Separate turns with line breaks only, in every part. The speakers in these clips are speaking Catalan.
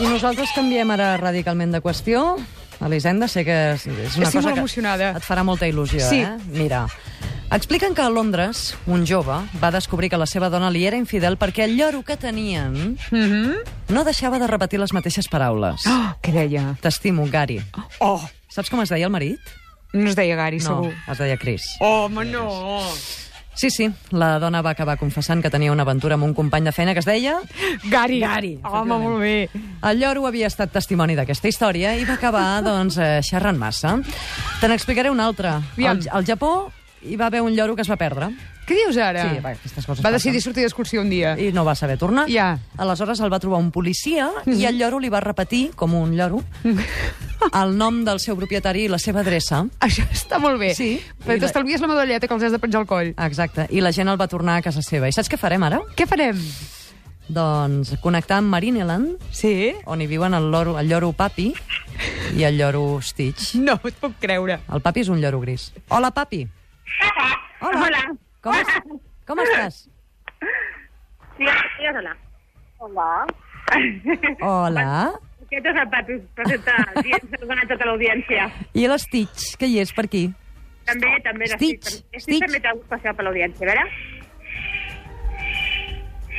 Nosaltres canviem ara radicalment de qüestió. Elisenda, sé que és és una
Estic
cosa
molt
que
emocionada.
et farà molta il·lusió,
Sí.
eh? Mira, expliquen que a Londres un jove va descobrir que la seva dona li era infidel perquè el lloro que tenien
Mm
no deixava de repetir les mateixes paraules.
oh, què deia?
T'estimo, Gary.
Oh,
Saps com es deia el marit?
no es deia Gary, segur.
No, es deia Chris.
Oh, home, no.
Sí, sí, la dona va acabar confessant que tenia una aventura amb un company de feina que es deia...
Gary.
Gary,
Home,
efectivament.
molt bé.
El lloro havia estat testimoni d'aquesta història i va acabar, doncs, eh, xerrant massa. Te n'explicaré una altra.
Aviam.
Al, al Japó hi va haver un lloro que es va perdre
Què dius ara?
Sí, va, aquestes coses
Va
passen.
decidir sortir d'excursió un dia.
i no va saber tornar.
Ja. Mhm.
Aleshores el va trobar un policia i el lloro li va repetir, com un lloro, el nom del seu propietari i la seva adreça.
Això està molt bé.
Sí. I
Però
la-
t'estalvies la medalleta que els has de penjar al coll.
Exacte. I la gent el va tornar a casa seva. I saps què farem ara?
Què farem?
Doncs connectar amb Marineland,
Sí?
on hi viuen el lloro, el lloro papi i el lloro Stitch.
No et puc creure.
El papi és un lloro gris. Hola, papi. Hola.
Hola.
Com, es, com estàs?
Digues, digues hola. Hola.
Hola.
Aquest és el papi, presenta l'audiència, tota l'audiència.
I l'Stitch, que hi és per aquí?
També, també.
Stitch,
Estic,
Stitch.
estic també té algú especial per l'audiència, a veure.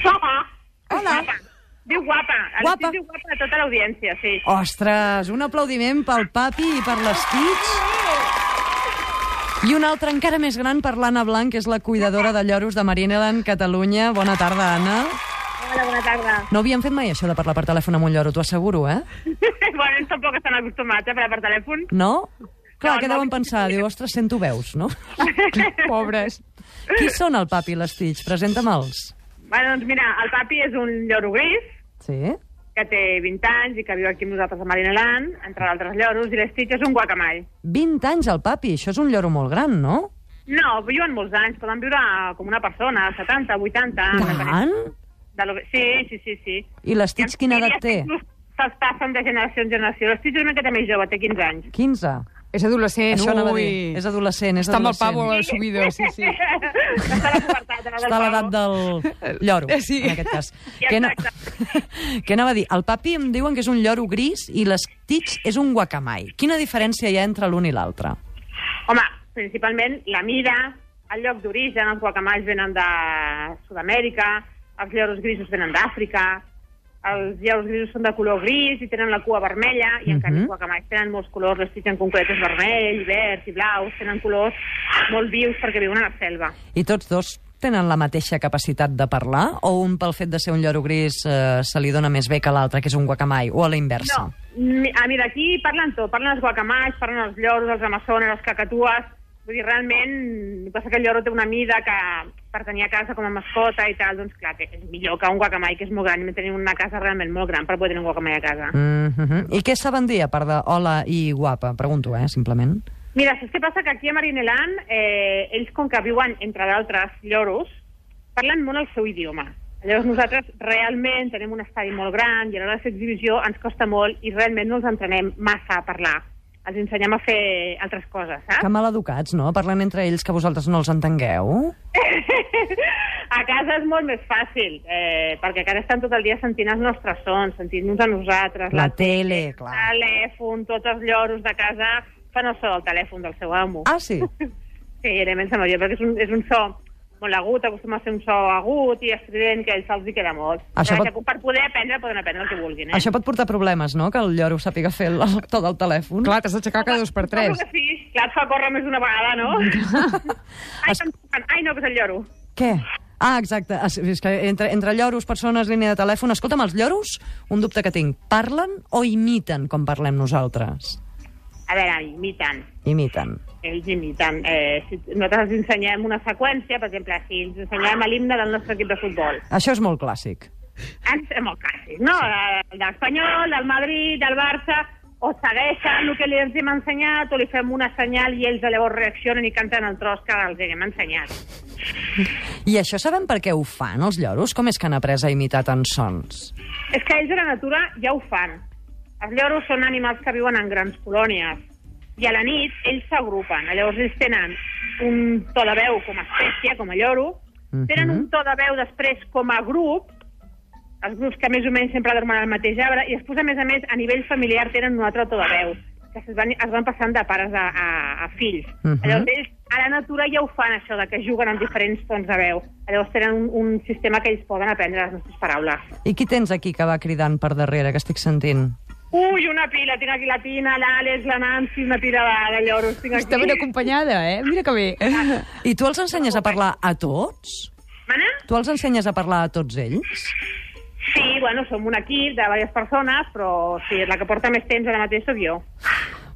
Hola.
Hola.
Guapa. Diu guapa. El
Guapa.
Stitch Diu guapa a tota l'audiència, sí.
Ostres, un aplaudiment pel papi i per l'Stitch. I una altra encara més gran per l'Anna Blanc, que és la cuidadora de lloros de Marineland, Catalunya. Bona tarda, Anna.
Hola, bona tarda.
No havíem fet mai això de parlar per telèfon amb un lloro, t'ho asseguro, eh?
bueno, ells tampoc estan acostumats a parlar per telèfon.
No? Clar,
No,
què
no.
deuen pensar? Diu, ostres, sento veus, no?
Pobres.
Qui són el papi i l'Stitch? Presenta'm-els.
Bueno, doncs mira, el papi és un lloro gris,
Sí?
que té 20 anys i que viu aquí amb nosaltres a Marineland, entre d'altres lloros, i l'Stitch és un guacamall.
20 anys el papi, això és un lloro molt gran, no?
No, viuen molts anys, poden viure ah, com una persona, 70, 80... depenent
Tant?
De lo... Sí, sí, sí, sí.
I l'Stitch quina edat té?
I els fills Se'ls passen de generació en generació. L'Stitch és una miqueta més jove, té 15 anys.
15.
És adolescent,
Això anava a
Eh, ui.
dir. És adolescent, és
Està amb el
adolescent.
pavo a la subida, sí, sí.
Està a la pubertat, a
Està a l'edat del lloro,
Eh, sí.
en aquest cas.
Ja
Què,
exacte.
què anava a dir? El papi em diuen que és un lloro gris i l'Stitch és un guacamai. Quina diferència hi ha entre l'un i l'altre?
Home, principalment la mida, el lloc d'origen, els guacamalls venen de Sud-amèrica, els lloros grisos venen d'Àfrica, els lloros grisos són de color gris i tenen la cua vermella, i en
Mhm.
canvi els guacamalls tenen molts colors, l'estit en concret és vermell, verd i blaus, tenen colors molt vius perquè viuen a la selva.
I tots dos tenen la mateixa capacitat de parlar? O un, pel fet de ser un lloro gris, eh, se li dona més bé que l'altre, que és un guacamai? O a la inversa?
No, mi- a mira, aquí parlen tot, parlen els guacamalls, parlen els lloros, els amazones, els cacatues, vull dir, realment, el que passa que el lloro té una mida que per tenir a casa com a mascota i tal, doncs clar, que és millor que un guacamall, que és molt gran, i tenir una casa realment molt gran per poder tenir un guacamall a casa. Mm.
Mm -hmm. I què saben dir, a part de hola i guapa? Pregunto, eh, simplement.
Mira, saps què passa? Que aquí a Marineland, eh, ells com que viuen, entre d'altres, lloros, parlen molt el seu idioma. Llavors nosaltres realment tenim un estadi molt gran i a l'hora de fer exhibició ens costa molt i realment no els entrenem massa a parlar. Els ensenyem a fer altres coses, saps?
Que maleducats, no? Parlen entre ells que vosaltres no els entengueu.
A casa és molt més fàcil, eh, perquè a casa estan tot el dia sentint els nostres sons, sentint-nos a nosaltres.
La tele, clar.
El telèfon, tots els lloros de casa fan el so del telèfon del seu amo.
Ah, sí?
Sí, era menys majoria, perquè és un, és un so molt agut, acostuma a ser un so agut i estrident, que a ells se'ls hi queda molt.
Això
Això
pot-
pot... Per poder aprendre, poden aprendre el que vulguin. Eh?
Això pot portar problemes, no?, que el lloro sàpiga fer el, el to del telèfon.
Clar, t'has d'aixecar cada dos per tres.
Suposo que sí, clar, et fa córrer més d'una vegada, no? ai, que em toquen. ai, no, que és el lloro.
Què? Ah, exacte. Es- És que entre, entre lloros, persones, línia de telèfon... Escolta'm, els lloros, un dubte que tinc, parlen o imiten com parlem nosaltres?
A veure, imiten.
Imiten.
ells imiten. Eh, si nosaltres els ensenyem una seqüència, per exemple, si els ensenyem l'himne del nostre equip de futbol,
Això és molt clàssic.
ens és molt clàssic, no? El de l'Espanyol, del Madrid, del Barça, o segueixen el que li ens hem ensenyat, o li fem una senyal i ells llavors reaccionen i canten el tros que els hem ensenyat.
I això sabem per què ho fan, els lloros? Com és que han après a imitar tants sons?
És que ells a la natura ja ho fan. Els lloros són animals que viuen en grans colònies i a la nit ells s'agrupen. Llavors ells tenen un to de veu com a espècie, com a lloro, tenen
Mhm.
un to de veu després com a grup els grups que més o menys sempre dormen al mateix arbre, i després, a més a més, a nivell familiar tenen un altre to de veu, que es van, es van passant de pares a, a, a fills. Uh
Mhm.
-huh. Llavors, ells a la natura ja ho fan, això, de que juguen amb diferents tons de veu. Llavors tenen un, un sistema que ells poden aprendre les nostres paraules.
I qui tens aquí que va cridant per darrere, que estic sentint?
Ui, una pila, tinc aquí la Tina, l'Àlex, la Nancy, una pila de, de lloros, tinc aquí.
Està ben acompanyada, eh? Mira que bé.
I tu els ensenyes a parlar a tots?
Mana?
Tu els ensenyes a parlar a tots ells?
Sí, bueno, som un equip de diverses persones, però sí, la que porta més temps ara mateix sóc jo.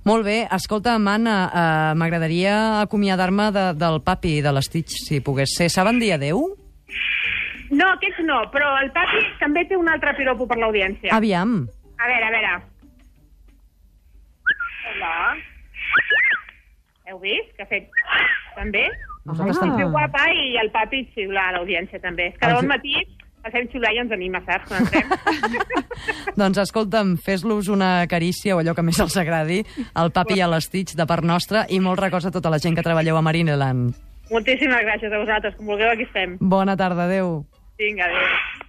Molt bé, escolta, Mana, eh, m'agradaria acomiadar-me de, del papi i de l'Estitx, si pogués ser. Saben dir adeu?
No, aquests no, però el papi també té un altre piropo per l'audiència.
Aviam.
A veure, a veure. Hola. Heu vist que ha fet també?
Nosaltres
Ah.
també.
Feu guapa i el papi xiula a l'audiència també. És que de bon matí el fem xiular i ens anima, saps? Quan entrem.
Doncs escolta'm, fes-los una carícia o allò que més els agradi, al papi i a l'Estitx de part nostra i molt records a tota la gent que treballeu a Marineland.
Moltíssimes gràcies a vosaltres. Com vulgueu, aquí estem.
Bona tarda, adeu.
Vinga, adéu.